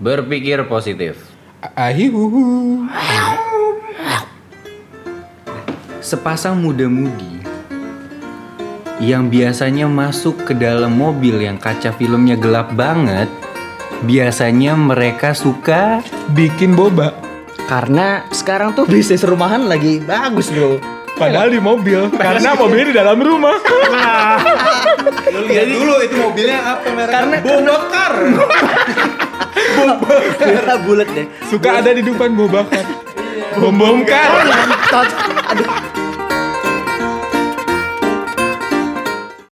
Berpikir positif. Ahihuhu. Sepasang muda-mudi yang biasanya masuk ke dalam mobil yang kaca filmnya gelap banget, biasanya mereka suka Bikin boba. Karena sekarang tuh bisnis rumahan lagi bagus bro. Padahal di mobil. Karena mobilnya di dalam rumah. Lu lihat dulu itu mobilnya apa merek? Karena Bobokar. Karena bulat deh. Suka ada di depan boba kan. Bom bom kan.